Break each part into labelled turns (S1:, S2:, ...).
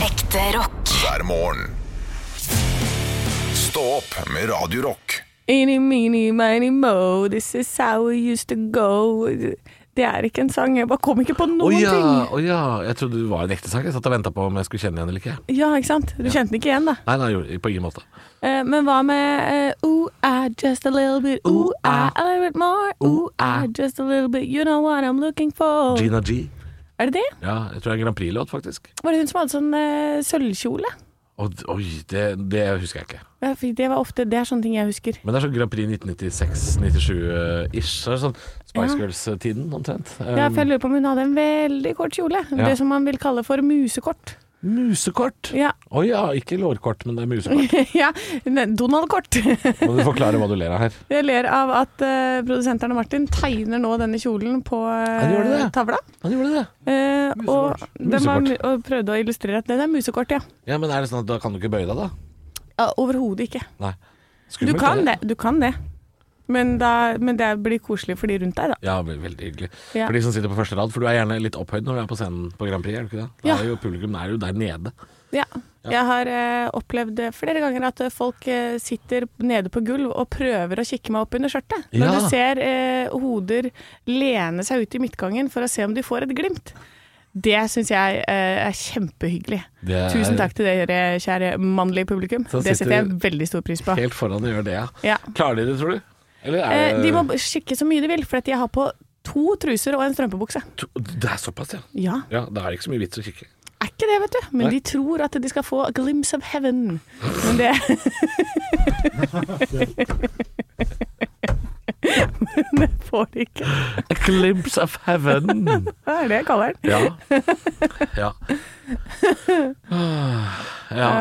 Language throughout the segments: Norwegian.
S1: Ekte rock.
S2: hver morgen. Stå opp med Radio Rock.
S3: Eeny, meeny, miny, mo, this is how we used to go. Det er ikke en sang. Jeg bare kom ikke på noen
S4: Å ja,
S3: ting.
S4: å ja. Jeg trodde det var en ekte sang. Jeg satt og venta på om jeg skulle kjenne henne eller ikke.
S3: Ja, ikke sant? Du kjente den ikke igjen, da.
S4: Nei, nei, jo, på ingen måte.
S3: Eh, men hva med uh, Ooh, I just a little bit. Ooh,
S4: ah.
S3: I a little bit more. Ooh, I just a little bit. You know what I'm looking for.
S4: Gina G.
S3: Er det det?
S4: Ja, jeg tror det er en Grand Prix-låt, faktisk.
S3: Var det hun som hadde sånn eh, sølvkjole?
S4: Og, d- oi, det, det husker jeg ikke.
S3: Ja, for Det var ofte, det er sånne ting jeg husker.
S4: Men det er sånn Grand Prix 1996-97-ish. Så er det sånn
S3: Ja.
S4: Spice Girls-tiden, omtrent.
S3: Ja,
S4: Um,
S3: for jeg lurer på om hun hadde en veldig kort kjole.
S4: Ja.
S3: Det som man vil kalle for musekort.
S4: musekort!
S3: Ja,
S4: Å ja, ikke lårkort, men det er musekort.
S3: ja ne- Donald-kort.
S4: Må du forklare hva du ler av her.
S3: Jeg ler av at uh, produsenten Martin tegner nå denne kjolen på eh,
S4: Han gjør det, det.
S3: tavla.
S4: Han gjorde det.
S3: Eh, og,
S4: Musekort.
S3: den var,
S4: Musekort.
S3: og prøvde å illustrere at den er musekort, ja.
S4: Ja, Men er det sånn at da kan du ikke bøye deg, da?
S3: ja Overhodet ikke.
S4: Nei.
S3: Du
S4: Skummelt,
S3: kan det, du kan det. Men, da, men det blir koselig for de rundt deg, da.
S4: Ja, ve- veldig hyggelig.
S3: Ja.
S4: For de som sitter på første rad, for du er gjerne litt opphøyd når du er på scenen på Grand Prix, er du ikke det? Da
S3: Ja.
S4: er jo publikum er jo der nede.
S3: Ja. Jeg har eh, opplevd flere ganger at folk eh, sitter nede på gulv og prøver å kikke meg opp under skjørtet. Når
S4: Ja.
S3: du ser eh, hoder lene seg ut i midtgangen for å se om de får et glimt. Det syns jeg eh, er kjempehyggelig.
S4: Det er-
S3: Tusen takk til dere, kjære mannlige publikum.
S4: Eh, Så
S3: Det
S4: sitter
S3: setter jeg
S4: du-
S3: veldig stor pris på.
S4: Helt foran og gjør det, ja.
S3: Ja.
S4: Klarer de det, tror du? Eller er
S3: Eh,
S4: det
S3: de må kikke så mye de vil, for at jeg har på to truser og en strømpebukse.
S4: To- Det er såpass, ja.
S3: Ja,
S4: Ja, Da er det ikke så mye vits å kikke.
S3: er ikke det, vet du. Men
S4: Nei.
S3: de tror at de skal få a glimpse of heaven. Men det Men det får de ikke.
S4: A glimpse of heaven.
S3: Det er det jeg kaller den.
S4: ja. Ja. Ah, ja.
S3: Ja,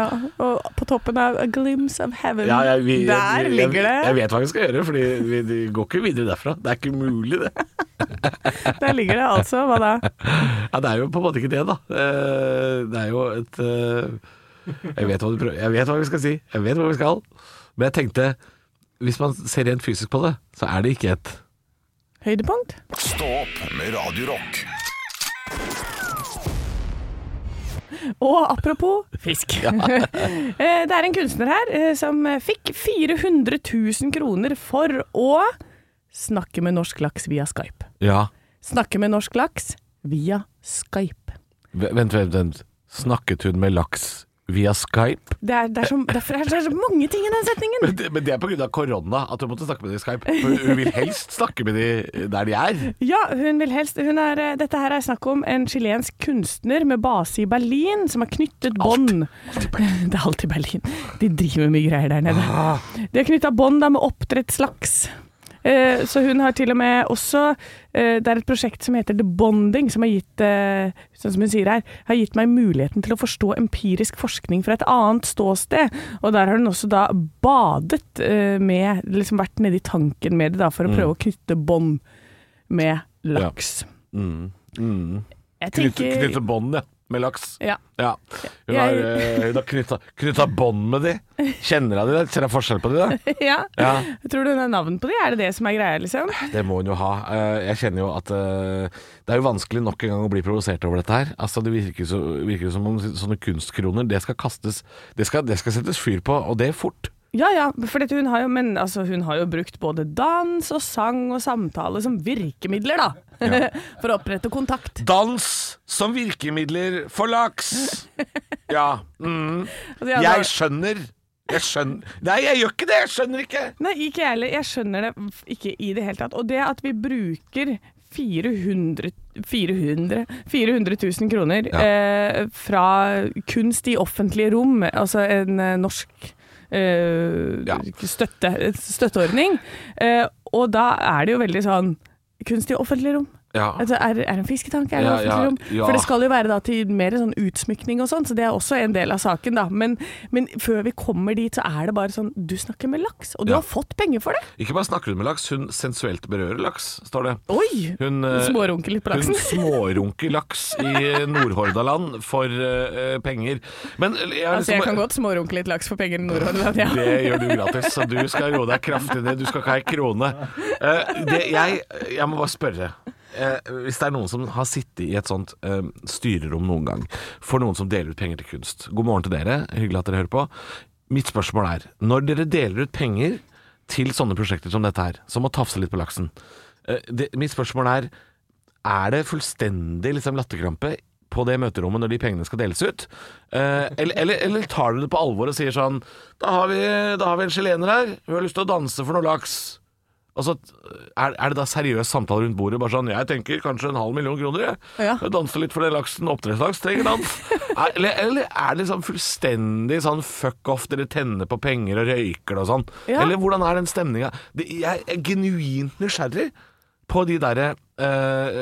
S3: og på toppen av a glimpse of heaven,
S4: Ja, jeg, vi,
S3: der
S4: jeg,
S3: ligger det
S4: Jeg, jeg vet hva vi skal gjøre, for det går ikke videre derfra. Det er ikke mulig, det.
S3: Der ligger det altså, hva da?
S4: Ja, det er jo på en måte ikke det, da. Eh, Det er jo et eh, Jeg vet hva du prøver Jeg vet hva vi skal si. Jeg vet hvor vi skal. Men jeg tenkte hvis man ser rent fysisk på det, så er det ikke et
S3: Høydepunkt?
S2: Stå opp med Radio Rock.
S3: Og apropos fisk. Eh, det er en kunstner her eh, som fikk 400 000 kroner for å snakke med norsk laks via Skype.
S4: Ja.
S3: Snakke med norsk laks via Skype.
S4: Vent, vent, vent. Snakket hun med laks via Skype?
S3: Det er, det er, så, derfor er det så mange ting i den setningen.
S4: Men det, men det er pga. korona at hun måtte snakke med dem i Skype. For hun vil helst snakke med dem der de er.
S3: Ja, hun vil helst hun er, eh, Dette her er snakk om en chilensk kunstner med base i Berlin, som har knyttet bånd Det er alltid Berlin. De driver med mye greier der nede.
S4: Ah.
S3: De har knytta bånd da med oppdrettslaks. Eh, Så hun har til og med også eh, Det er et prosjekt som heter The Bonding, som har gitt eh, Sånn som hun sier her, har gitt meg muligheten til å forstå empirisk forskning fra et annet ståsted. Og der har hun også da badet eh, med Liksom vært nedi tanken med det, da,
S4: Mm.
S3: for å prøve å knytte bånd med laks. Jeg
S4: Mm. Knytte,
S3: tenker
S4: knytte bånd, ja. Med laks.
S3: Ja.
S4: Ja. Hun
S3: Jeg-
S4: har, eh, hun har knytta, knytta bånd med de. Kjenner hun de? Ser hun forskjell på de? da?
S3: ja.
S4: Ja,
S3: Tror du hun har navn på de? Er det det som er greia, liksom?
S4: det må hun jo ha. Eh, Jeg kjenner jo at eh, det er jo vanskelig nok en gang å bli provosert over dette her. Altså Det virker jo så, virker jo som om sånne kunstkroner, det skal kastes det skal, det skal settes fyr på, og det fort.
S3: Ja ja, for dette hun, har jo, men, altså, hun har jo brukt både dans og sang og samtale som virkemidler, da. for å opprette kontakt.
S4: Dans som virkemidler for laks! Ja. Mm.
S3: Altså, jeg,
S4: Jeg skjønner. Jeg skjønner Nei, jeg gjør ikke det! Jeg skjønner ikke!
S3: nei, ikke jeg heller. Jeg skjønner det f- ikke i det hele tatt. Og det at vi bruker 400 400, 400 000 kroner
S4: Ja.
S3: eh, fra kunst i offentlige rom, altså en eh, norsk eh,
S4: Ja.
S3: støtte, støtteordning, eh, og da er det jo veldig sånn Kunst i offentlige rom.
S4: Ja.
S3: Altså, er, er det en fisketank? Er det
S4: Ja,
S3: offentlig
S4: ja,
S3: rom?
S4: ja.
S3: For det skal jo være da til mer sånn utsmykning og sånn, så det er også en del av saken, da. Men, men før vi kommer dit, så er det bare sånn Du snakker med laks, og du
S4: Ja.
S3: har fått penger for det!
S4: Ikke bare snakker hun med laks, hun sensuelt berører laks, står det.
S3: Oi!
S4: Hun, eh,
S3: Smårunker litt på laksen.
S4: Hun smårunker laks i Nordhordaland for eh, eh, penger. Men jeg, har
S3: Altså, jeg
S4: lyst til å
S3: kan
S4: bare-
S3: godt smårunke litt laks for penger i Nordhordland, ja.
S4: liksom Det gjør du gratis, så du skal roe deg kraftig ned. Du skal ikke ha ei krone. Eh, det, jeg, jeg må bare spørre. eh, hvis det er noen som har sittet i et sånt eh, styrerom noen gang, for noen som deler ut penger til kunst God morgen til dere, hyggelig at dere hører på. Mitt spørsmål er, når dere deler ut penger til sånne prosjekter som dette her, som å tafse litt på laksen eh, det, Mitt spørsmål er, er det fullstendig liksom, latterkrampe på det møterommet når de pengene skal deles ut? Eh, eller, eller, eller tar dere det på alvor og sier sånn Da har vi, da har vi en chilener her, hun har lyst til å danse for noe laks. Altså, er, er det da seriøs samtale rundt bordet? Bare sånn 'Jeg tenker kanskje en halv million kroner, jeg.
S3: Ja.
S4: jeg danser litt for den laksen. Oppdrettslaks trenger dans. er, eller, eller er det liksom fullstendig sånn fuck off, dere tenner på penger og røyker det og sånn?
S3: Ja.
S4: Eller hvordan er den stemninga? Jeg er genuint nysgjerrig på de der eh,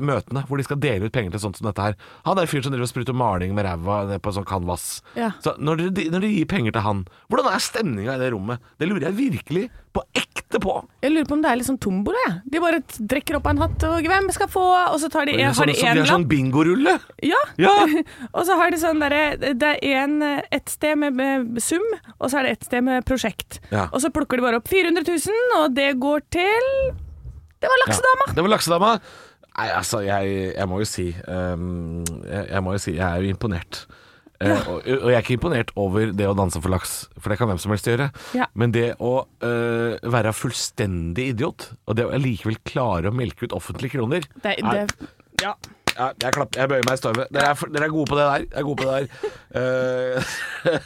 S4: møtene hvor de skal dele ut penger til sånt som dette her. Han er fyren som driver og spruter maling med ræva ned på en sånn canvas.
S3: Ja.
S4: Så når dere, når dere gir penger til han, hvordan er stemninga i det rommet? Det lurer jeg virkelig på ekte på.
S3: Jeg lurer på om det er litt sånn tombola, jeg. De bare t- drikker opp av en hatt og hvem skal få, og så tar de en, har
S4: sånn,
S3: de
S4: så
S3: en
S4: det er sånn
S3: lapp.
S4: bingorulle.
S3: Ja.
S4: Ja.
S3: og så har de sånn derre Det er en, et sted med, med sum, og så er det et sted med prosjekt.
S4: Ja.
S3: Og så plukker de bare opp 400 000, og det går til Det var laksedama!
S4: Det var laksedama. Nei, altså, jeg, jeg må jo si ehm, jeg, jeg må jo si, jeg er jo imponert. Eh, og, og jeg er ikke imponert over det å danse for laks, for det kan hvem som helst gjøre.
S3: Ja.
S4: Men det å eh, være fullstendig idiot, og det å likevel klare å melke ut offentlige kroner
S3: Det,
S4: er-
S3: det, ja.
S4: ja, jeg, klapp, jeg bøyer meg i støvet. Dere er, for- dere er gode på det der. Jeg er gode på det der. Eh,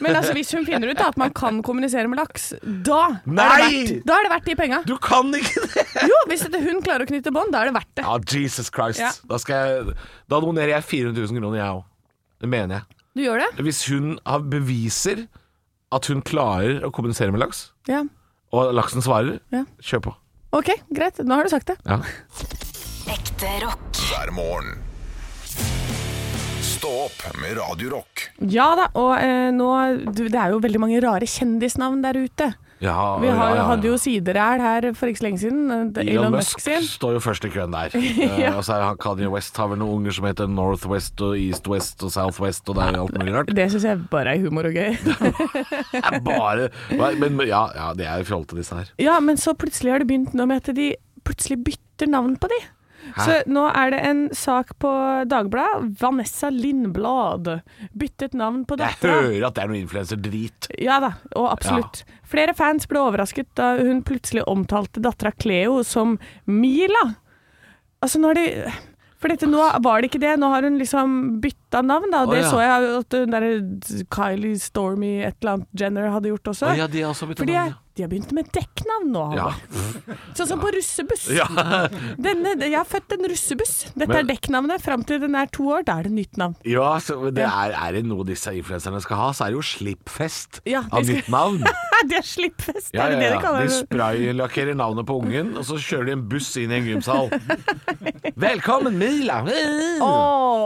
S3: Men altså, hvis hun finner ut da, at man kan kommunisere med laks, da er det
S4: Nei!
S3: verdt, da er det verdt de penga.
S4: du kan ikke det!
S3: Jo, hvis dette hun klarer å knytte bånd, da er det verdt det.
S4: Ja, Jesus Christ.
S3: Ja.
S4: Da, skal jeg, da donerer jeg 400 000 kroner, jeg òg. Det mener jeg.
S3: Du gjør det?
S4: Hvis hun har beviser at hun klarer å kommunisere med laks,
S3: Ja.
S4: og laksen svarer,
S3: Ja.
S4: kjør på.
S3: OK, greit. Nå har du sagt det.
S4: Ja.
S1: Ekte rock.
S2: hver morgen. Stå opp med Radio Rock.
S3: Ja da, og eh, nå du, Det er jo veldig mange rare kjendisnavn der ute.
S4: Ja,
S3: Vi har,
S4: ja, ja, ja.
S3: hadde jo sideræl her for ikke så lenge siden. eh, det- Elon, Musk, sin.
S4: står jo først i køen der. Eh, og så er han Kanye West har vel noen unger som heter Northwest og East West og Southwest og det er jo alt mulig rart.
S3: Det syns jeg bare er humor og gøy.
S4: Det er bare Men men ja, ja det er jo fjollete, disse her.
S3: Ja, men så plutselig har det begynt nå med at de plutselig bytter navn på de. Så nå er det en sak på Dagbladet. Vanessa Lindblad byttet navn på
S4: Jeg
S3: dattera.
S4: hører at det er noe influenser-drit.
S3: Ja da, og absolutt. Flere fans ble overrasket da hun plutselig omtalte dattera Cleo som Mila. Altså, nå har de For dette, nå var det ikke det. Nå har hun liksom bytta navn, da. Og det
S4: Å, ja.
S3: så jeg at hun derre Kylie Stormy et eller annet Jenner hadde gjort også.
S4: Å, ja, de har også byttet
S3: For de
S4: navn,
S3: er- de har begynt med dekknavn nå.
S4: Ja.
S3: Halvor. Sånn som på russebuss.
S4: Ja.
S3: Denne, jeg har født en russebuss. Dette
S4: Men-
S3: er dekknavnet. Fram til den er to år, da er det nytt navn.
S4: ja så men det er, er det noe disse influenserne skal ha, så er det jo slippfest
S3: Ja, de
S4: av
S3: skal-
S4: nytt navn.
S3: det er slippfest,
S4: Ja,
S3: er det
S4: ja,
S3: det de
S4: ja.
S3: kaller
S4: De
S3: det?
S4: spraylakkerer navnet på ungen, og så kjører de en buss inn i en gymsal. Velkommen, Mila!
S3: Å,
S4: Ja,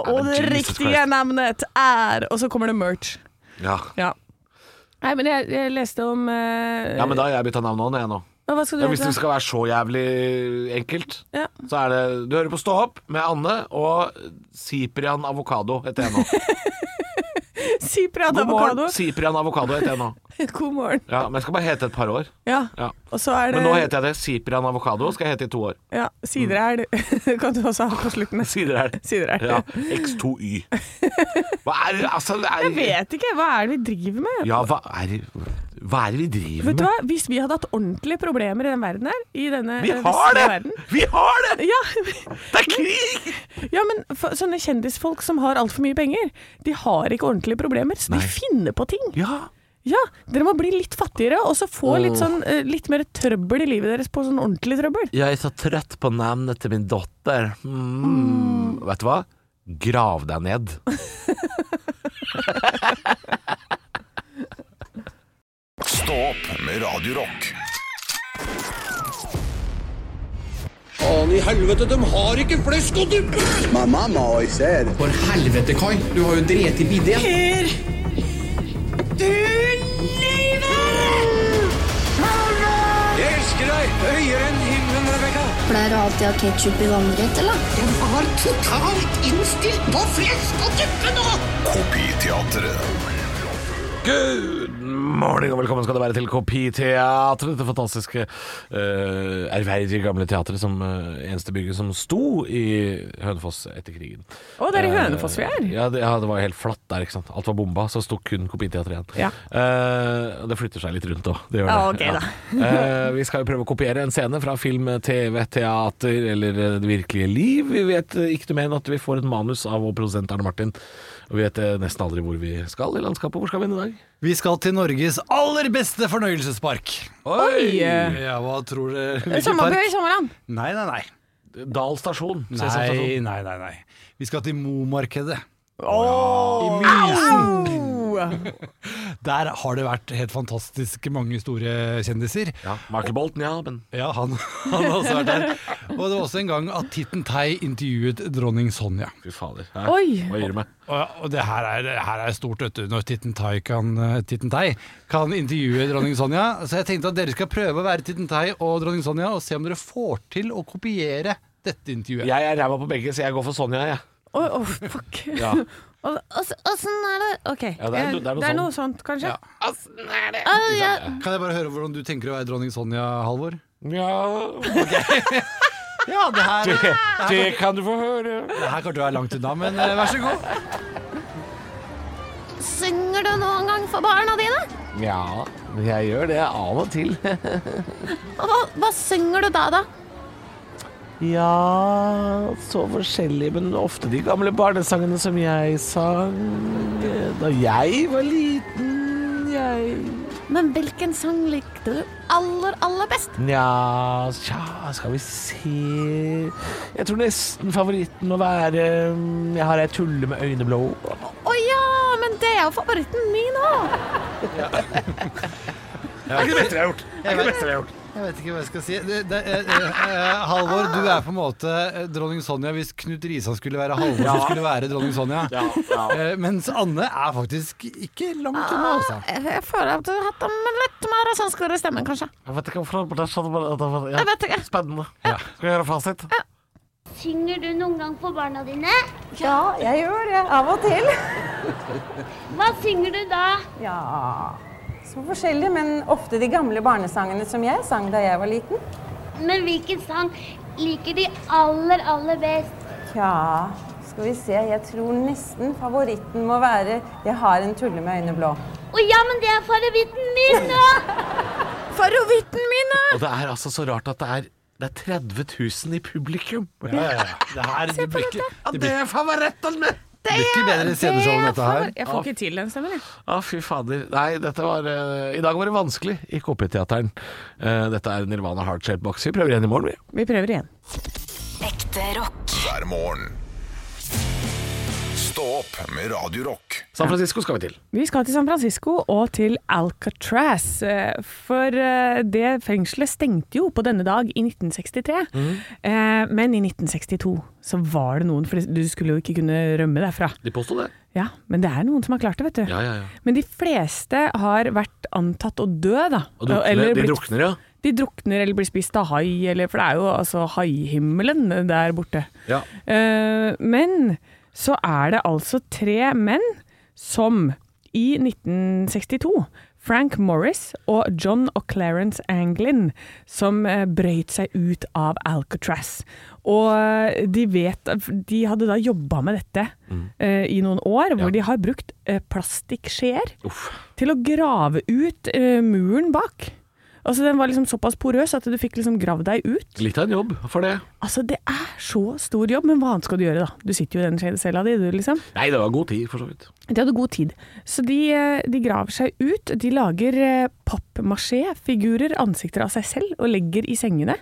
S3: og
S4: men
S3: det
S4: Jesus
S3: riktige
S4: Christ.
S3: navnet er Og så kommer det merch.
S4: Ja.
S3: Ja. Nei, men jeg, jeg leste om eh,
S4: ja, men da har jeg bytta navn nå, jeg nå.
S3: Hva skal du
S4: Ja, hvis det
S3: hete?
S4: skal være så jævlig enkelt,
S3: Ja.
S4: så er det Du hører på Stå opp med Anne og Cyprian Avokado heter jeg nå.
S3: Cyprian
S4: God
S3: avokado.
S4: morgen, Cyprian Avokado heter jeg nå.
S3: God morgen.
S4: Ja, men jeg skal bare hete et par år.
S3: Ja.
S4: Ja.
S3: Og så er det
S4: Men nå heter jeg det. Cyprian Avokado skal jeg hete i to år.
S3: ja, Siderelv kan du også ha på slutten.
S4: Sider her.
S3: Siderelv.
S4: Ja. X2Y. Hva er det altså det er,
S3: Jeg vet ikke. Hva er det vi driver med?
S4: Ja, hva er, det- hva er det vi driver
S3: Vet
S4: med?
S3: du hva? Hvis vi hadde hatt ordentlige problemer i den verden her i denne
S4: Vi
S3: eh,
S4: har
S3: vestlige
S4: det!
S3: verden
S4: Vi har det!
S3: ja,
S4: Det er krig!
S3: ja, men for, sånne kjendisfolk som har altfor mye penger, de har ikke ordentlige problemer, så
S4: Nei.
S3: de finner på ting.
S4: Ja.
S3: Ja, dere må bli litt fattigere, og så få litt, sånn, eh, litt mer trøbbel i livet deres på sånn ordentlig trøbbel.
S4: Jeg er så trøtt på navnet til min datter.
S3: Mm.
S4: Vet du hva? Grav deg ned.
S2: Stå opp med Radio Rock.
S5: Faen i helvete, de har ikke flesk og duppe!
S6: My mom always said,
S5: For helvete, Kai. Du har jo drept i bidé. Jeg elsker deg høyere enn himmelen, Rebekka.
S7: Pleier du alltid å ha ketsjup i vannrett, eller?
S2: Kopiteatret.
S4: Good morning og velkommen skal det være til Kopiteatret, dette fantastiske, uh, ærverdige gamle teatret som eh, eneste bygget som sto i Hønefoss etter krigen.
S3: Å, det er i
S4: Eh,
S3: Hønefoss vi er.
S4: Ja, det, ja, det var jo helt flatt der, ikke sant. Alt var bomba, så sto kun Kopiteatret igjen.
S3: Ja.
S4: Eh, og det flytter seg litt rundt òg, det gjør det.
S3: Ja, ok da.
S4: Eh, vi skal jo prøve å kopiere en scene fra film, TV, teater eller eh, det virkelige liv. Vi vet eh, ikke noe mer enn at vi får et manus av vår produsent Arne Martin. Og vi vet eh, nesten aldri hvor vi skal i landskapet. Hvor skal vi inn i dag?
S6: Vi skal til Norges aller beste fornøyelsespark.
S3: Oi! eh,
S6: Ja, hva tror dere? Hvilken
S3: Sommerbø
S6: park?
S3: i Sommerland.
S6: Nei, nei, nei.
S4: Dal stasjon.
S6: Nei, nei, nei, nei. Vi skal til Momarkedet. I
S3: Åh.
S6: Mysen.
S3: Au!
S6: Der har det vært helt fantastisk mange store kjendiser.
S4: Ja, Michael Bolton, ja. Men
S6: Ja, han, han har også vært der. Og det var også en gang at Titten Tei intervjuet dronning Sonja.
S4: fy fader.
S3: Oi.
S4: Hva gir du meg?
S6: Og, og det her er, det her er stort, vet du, når Titten Tai kan, eh, Titten Tai kan intervjue dronning Sonja. Så jeg tenkte at dere skal prøve å være Titten Tai og dronning Sonja, og se om dere får til å kopiere dette intervjuet.
S4: Jeg er ræva på begge, så jeg går for Sonja, jeg.
S3: Åh, åh, fuck.
S4: Ja.
S3: Og, og, så- og sånn er det OK.
S4: Ja, det er no- det er noe sånn.
S3: noe sånt, kanskje?
S6: Ja.
S3: Åh, ja.
S6: Kan jeg bare høre hvordan du tenker å være dronning Sonja, Halvor?
S4: Ja,
S6: Ja, det her,
S4: det, det kan du få høre.
S6: det her kan du være langt unna, men eh, vær så god.
S7: Synger du noen gang for barna dine?
S4: Ja, jeg gjør det av og til.
S7: Og hva, hva synger du da, da?
S4: Ja, så forskjellig, men ofte de gamle barnesangene som jeg sang eh, da jeg var liten. Jeg
S7: Men hvilken sang likte du aller, aller best?
S4: Nja, tja, skal vi se Jeg tror nesten favoritten må være mm, Jeg har ei tulle med øyne blå.
S7: Å ja, men det er jo favoritten min òg.
S6: Jeg vet, jeg vet ikke hva jeg skal si. Det, det, eh, eh, eh, Halvor, du er på en måte eh, dronning Sonja hvis Knut Risan skulle være Halvor, så skulle være dronning Sonja. Eh, Mens Anne er faktisk ikke langt unna, altså.
S7: Jeg føler at du har hatt dem litt mer
S3: sånn
S7: sannskåret stemme, kanskje.
S4: Jeg vet ikke hvorfor det er sånn, men det var-
S7: Jeg vet ikke.
S4: spennende. Skal vi gjøre fasit?
S8: Synger du noen gang for barna dine?
S9: Ja, jeg gjør det. Av og til.
S8: Hva synger du da?
S9: Ja. Så forskjellig, men ofte de gamle barnesangene som jeg sang da jeg var liten.
S8: Men hvilken sang liker de aller, aller best?
S9: Tja, skal vi se. Jeg tror nesten favoritten må være 'Jeg har en tulle med øyne blå'.
S8: Å ja, men det er favoritten min òg!
S3: Favoritten min, da!
S4: Og det er altså så rart at det er, det er 30 000 i publikum.
S6: Ja, ja, ja. Det her det blir ikke,
S4: Ja, det er favoritten min!
S6: det blir ikke bedre sceneshow enn dette her.
S3: Jeg
S4: Ah.
S3: får ikke til den stemmen, jeg.
S4: Å, fy fader. Nei, dette var eh, I dag var det vanskelig i KP-teateren. Eh, dette er Nirvana Heartshaped Box. Vi prøver igjen i morgen, vi.
S3: Vi prøver igjen.
S1: Ekte rock.
S2: hver morgen. Stå opp med Radio Rock.
S4: San Francisco skal vi til.
S3: Vi skal til San Francisco og til Alcatraz. eh, For eh, det fengselet stengte jo på denne dag i 1963.
S4: Mhm.
S3: Eh, Men i 1962 så var det noen, for du skulle jo ikke kunne rømme derfra.
S4: De påsto det.
S3: Ja, Men det er noen som har klart det, vet du.
S4: Ja, ja, ja.
S3: Men de fleste har vært antatt å dø, da.
S4: Og drukner,
S3: Eller
S4: de
S3: blitt-
S4: drukner, ja.
S3: De drukner eller blir spist av hai, eller, for det er jo altså haihimmelen der borte.
S4: Ja.
S3: Eh, men så er det altså tre menn som i 1962 Frank Morris og John og Clarence Anglin som eh, brøyt seg ut av Alcatraz. Og eh, de vet De hadde da jobba med dette eh, i noen år, hvor
S4: Ja.
S3: de har brukt uh, plastikkskjeer
S4: Uff.
S3: til å grave ut eh, muren bak. Altså Den var liksom såpass porøs at du fikk liksom gravd deg ut.
S4: Litt av en jobb for det.
S3: Altså Det er så stor jobb, men hva annet skal du gjøre, da? Du sitter jo i den cella di, du, liksom.
S4: Nei, det var god tid, for så vidt.
S3: De hadde god tid. Så de, eh, de graver seg ut. De lager eh, pappmasjé-figurer, ansikter av seg selv, og legger i sengene.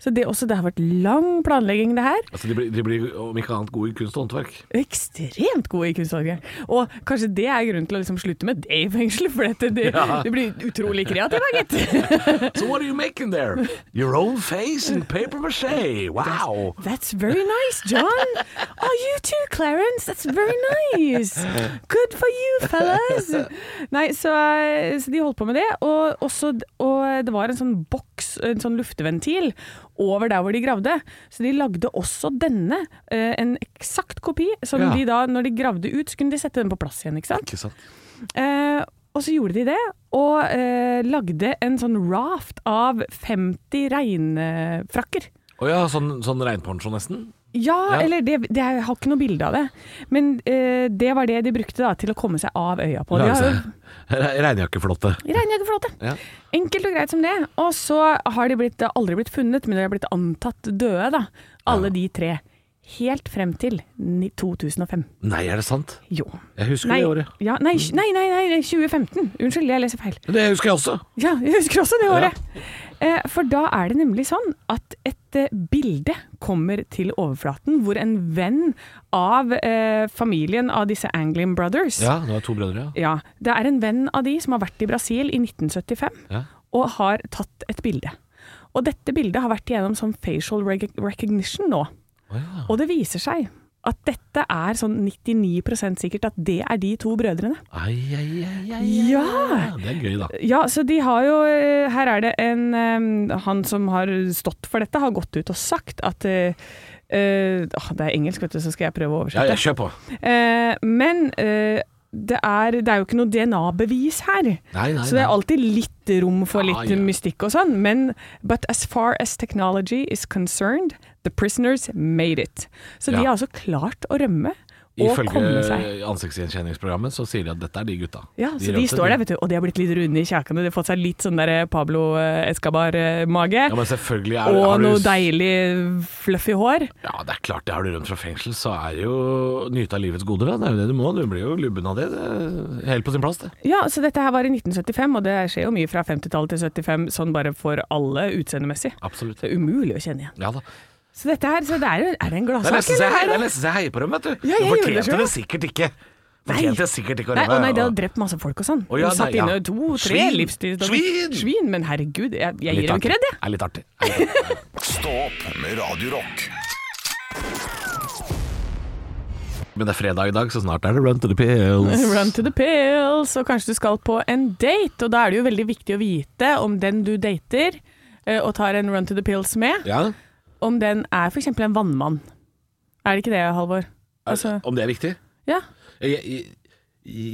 S3: Så det, også, det har vært lang planlegging, det her.
S4: Altså, de blir, de blir om ikke annet gode i kunst og håndverk.
S3: ekstremt gode i kunsthåndverk. Og kanskje det er grunnen til å liksom slutte med det i fengselet, for dette, det,
S4: Ja.
S3: du blir utrolig kreativ, da, gitt.
S4: So what are you making there? Your own face in paper mache. Wow.
S3: That's very nice, John. Oh, you too, Clarence. That's very nice. Good for you, fellas. Nei, så, så de holdt på med det. Og, også, og det var en sånn boks, en sånn lufteventil, over der hvor de gravde. Så de lagde også denne, eh, en eksakt kopi, som
S4: Ja.
S3: de da, når de gravde ut, så kunne de sette den på plass igjen, ikke sant?
S4: Ikke sant.
S3: Eh, Og så gjorde de det, og eh, lagde en sånn raft av 50 regnfrakker.
S4: Å ja, sånn, sånn regnponcho nesten?
S3: Ja,
S4: Ja.
S3: eller det, det, jeg har ikke noe bilde av det. Men eh, det var det de brukte da, til å komme seg av øya på. De
S4: Lage
S3: har jo
S4: seg re- regnjakkeflåte.
S3: Regnjakkeflåte.
S4: Ja.
S3: Enkelt og greit som det. Og så har de blitt, eh, aldri blitt funnet, men de har blitt antatt døde, da. Alle de tre. Helt frem til ni- 2005.
S4: Nei, er det sant?
S3: Jo.
S4: Jeg husker
S3: Nei,
S4: det året. Mm.
S3: ja, nei, nei, nei, nei, 2015. Unnskyld, jeg leser feil.
S4: Det husker jeg også.
S3: Ja, jeg husker også det året. Eh, for da er det nemlig sånn at et eh, bilde kommer til overflaten hvor en venn av eh, familien av disse Anglin Brothers
S4: Ja, det var to brødre, ja.
S3: Ja, det er en venn av de som har vært i Brasil i 1975
S4: Ja.
S3: og har tatt et bilde. Og dette bildet har vært gjennom sånn facial rec recognition nå. Og det viser seg at dette er sånn 99 sikkert at det er de to brødrene.
S4: Ai, ai, ai, ai.
S3: Ja!
S4: Ja, Det er gøy, da.
S3: Ja, så de har jo eh, Her er det en eh, Han som har stått for dette, har gått ut og sagt at eh, eh, åh, Det er engelsk, vet du, så skal jeg prøve å
S4: Ja,
S3: oversette.
S4: ja, kjør på.
S3: Eh, men eh, det, er, det er jo ikke noe DNA-bevis her.
S4: Nei, nei,
S3: så det er
S4: nei.
S3: alltid litt rom for
S4: Ja,
S3: litt
S4: ja.
S3: mystikk og sånn. Men But as far as technology is concerned, the prisoners made it. Så de
S4: Ja.
S3: har altså klart å rømme. Og komme
S4: Ifølge
S3: seg.
S4: ansiktsgjenkjenningsprogrammet så sier de at dette er de gutta.
S3: Ja, så de
S4: rømte,
S3: står der, vet du, og de har blitt litt runde i kjaken, og de har fått seg litt sånn der Pablo eh, Escabar-mage.
S4: Ja, men selvfølgelig er,
S3: og
S4: har du-
S3: noe deilig fluffy hår.
S4: Ja, det er klart det. Har du rømt fra fengsel, så er det jo nyte av livets goder. Da. Det er jo det du må. Du blir jo lubben av det. det er helt på sin plass, det.
S3: Ja, så dette her var i 1975, og det skjer jo mye fra 50-tallet til 75, sånn bare for alle utseendemessig.
S4: Absolutt.
S3: Det er um- umulig å kjenne igjen.
S4: Ja da.
S3: Så dette her, så det er, jo- er det en
S4: Det er
S3: gladsak,
S4: nesten så jeg,
S3: eller?
S4: det er nesten så jeg heier på dem, vet du.
S3: Ja, jeg
S4: du
S3: gjorde det selv.
S4: fortjente det sikkert ikke. Fortjente sikkert ikke å
S3: Nei,
S4: rømme,
S3: å nei, de
S4: og-
S3: hadde drept masse folk og sånn.
S4: Å ja,
S3: og satt
S4: nei, ja.
S3: inne to, tre
S4: Svin!
S3: livstids...
S4: Svin!
S3: Svin! Men herregud, jeg, jeg gir
S4: Litt
S3: dem
S4: artig.
S3: kred, jeg.
S4: Er litt artig. Er litt artig.
S2: Stå opp med Radio Rock.
S4: Men det er fredag i dag, så snart er det run to the pills.
S3: Run to the pills, og kanskje du skal på en date, og da er det jo veldig viktig å vite om den du dater eh, og tar en run to the pills med,
S4: Ja,
S3: om den er for eksempel en vannmann. Er det ikke det, Halvor? Altså,
S4: Eh, Om det er viktig?
S3: ja,
S4: Jeg, jeg,